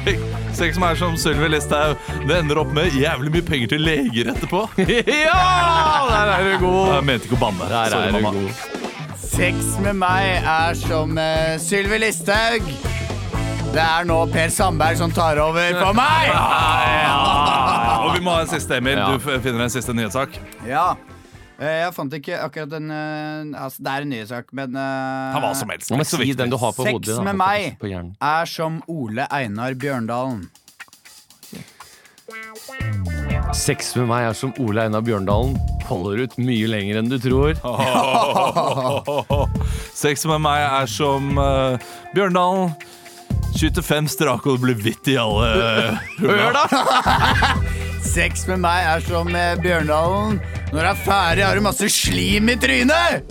Sex, sex med meg er som Sylvi Listhaug. Det ender opp med jævlig mye penger til leger etterpå.
(laughs) ja! Der er du god.
Jeg mente ikke å banne.
Der
Sorry,
er du
mamma.
god.
Sex med meg er som uh, Sylvi Listhaug. Det er nå Per Sandberg som tar over for meg!
Ah, Og vi må ha en siste, Emil.
Ja.
Du f- finner en siste nyhetssak.
Ja. Eh, Jeg fant ikke akkurat den eh, altså, Det er en nyhetssak, men eh,
Ta hva som helst.
Nå må
Ikke så
jeg si
viktig.
den du har på
Sex
hodet. da.
med meg.
På hjernen.
er som Ole Einar Bjørndalen.
Sex med meg er som Ole Einar Bjørndalen. Holder ut mye lenger enn du tror.
(laughs) Sex med meg er som eh, Bjørndalen. Skyter fem strake og blir hvitt i alle
(laughs) Hør, da!
Sex med meg er som eh, Bjørndalen. Når du er ferdig, har du masse slim i trynet!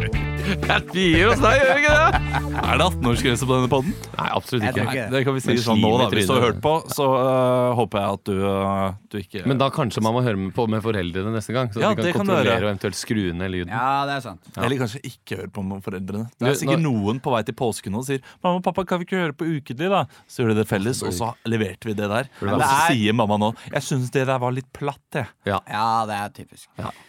Vi gir oss der, gjør vi ikke det?
Er det 18-årsgrense på denne podden?
Nei, absolutt
tror
ikke.
ikke
Det kan vi si
Men
sånn nå, da.
slim i
Hvis du har
trynet.
hørt på, så eh, håper jeg at du, eh, du ikke
Men da kanskje man må høre med på med foreldrene neste gang. Så
Ja,
de kan,
det kan du
kontrollere
gjøre.
og eventuelt skru ned lyden.
Ja, det er sant.
Eller kanskje ikke høre på med foreldrene. Det er
Du,
sikkert
nå-
noen på vei til påske nå og sier 'Mamma og pappa, kan vi ikke høre på Ukentlig', da? Så gjør de det felles, og så leverte vi det der. Og så
det er-
sier mamma nå 'Jeg syns det der var litt platt', jeg.
Ja.
Ja, det er typisk.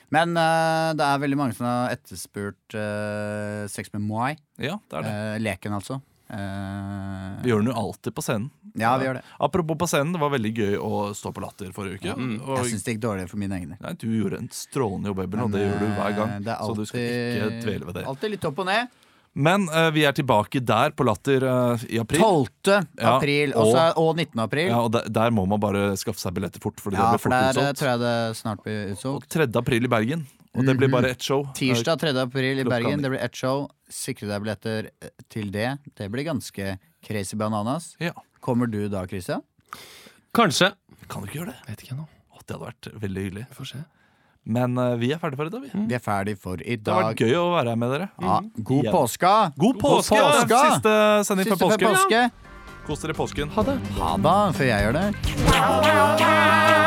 Men eh, det er veldig mange som har etterspurt eh, sex med moi.
Ja, det er det.
Eh, leken, altså. Eh,
Vi gjør den jo alltid på scenen.
ja, vi gjør det.
Apropos på scenen, det var veldig gøy å stå på Latter forrige uke. Og,
Mm, Jeg syns det gikk dårligere for mine egne.
nei, du gjorde en strålende jobb, Ebben, og det gjør du hver gang.
Eh, det er
så du skal ikke
alltid-
dvele ved det.
Alltid litt opp og ned.
Men eh, vi er tilbake der på Latter eh, i april.
12.
Ja,
april
og-
også, og 19. april.
Ja, og der, der må man bare skaffe seg billetter fort, fordi
Ja,
det blir fort
for der eh,
utsolgt.
tror jeg det snart blir utsolgt.
3. april i Bergen, og det blir bare ett show. Eh,
Tirsdag 3. april i
Klokka
Bergen.
ni.
Det blir ett show. Sikre deg billetter eh, til det. Det blir ganske crazy bananas.
Ja.
Kommer du da, Christian?
Kanskje.
Kan du ikke gjøre det?
Vet ikke ennå.
Å, det hadde vært veldig hyggelig.
Vi får se.
Men eh, vi er ferdige for i dag, vi.
Vi er ferdig for i
Det har vært
dag.
gøy å være her med dere.
Mm. Ja, god
Igjen.
påske!
God påske!
påske!
Det er Siste sending
Siste
før
før
påske.
påske.
Kos dere i påsken.
Ha det, før jeg gjør det.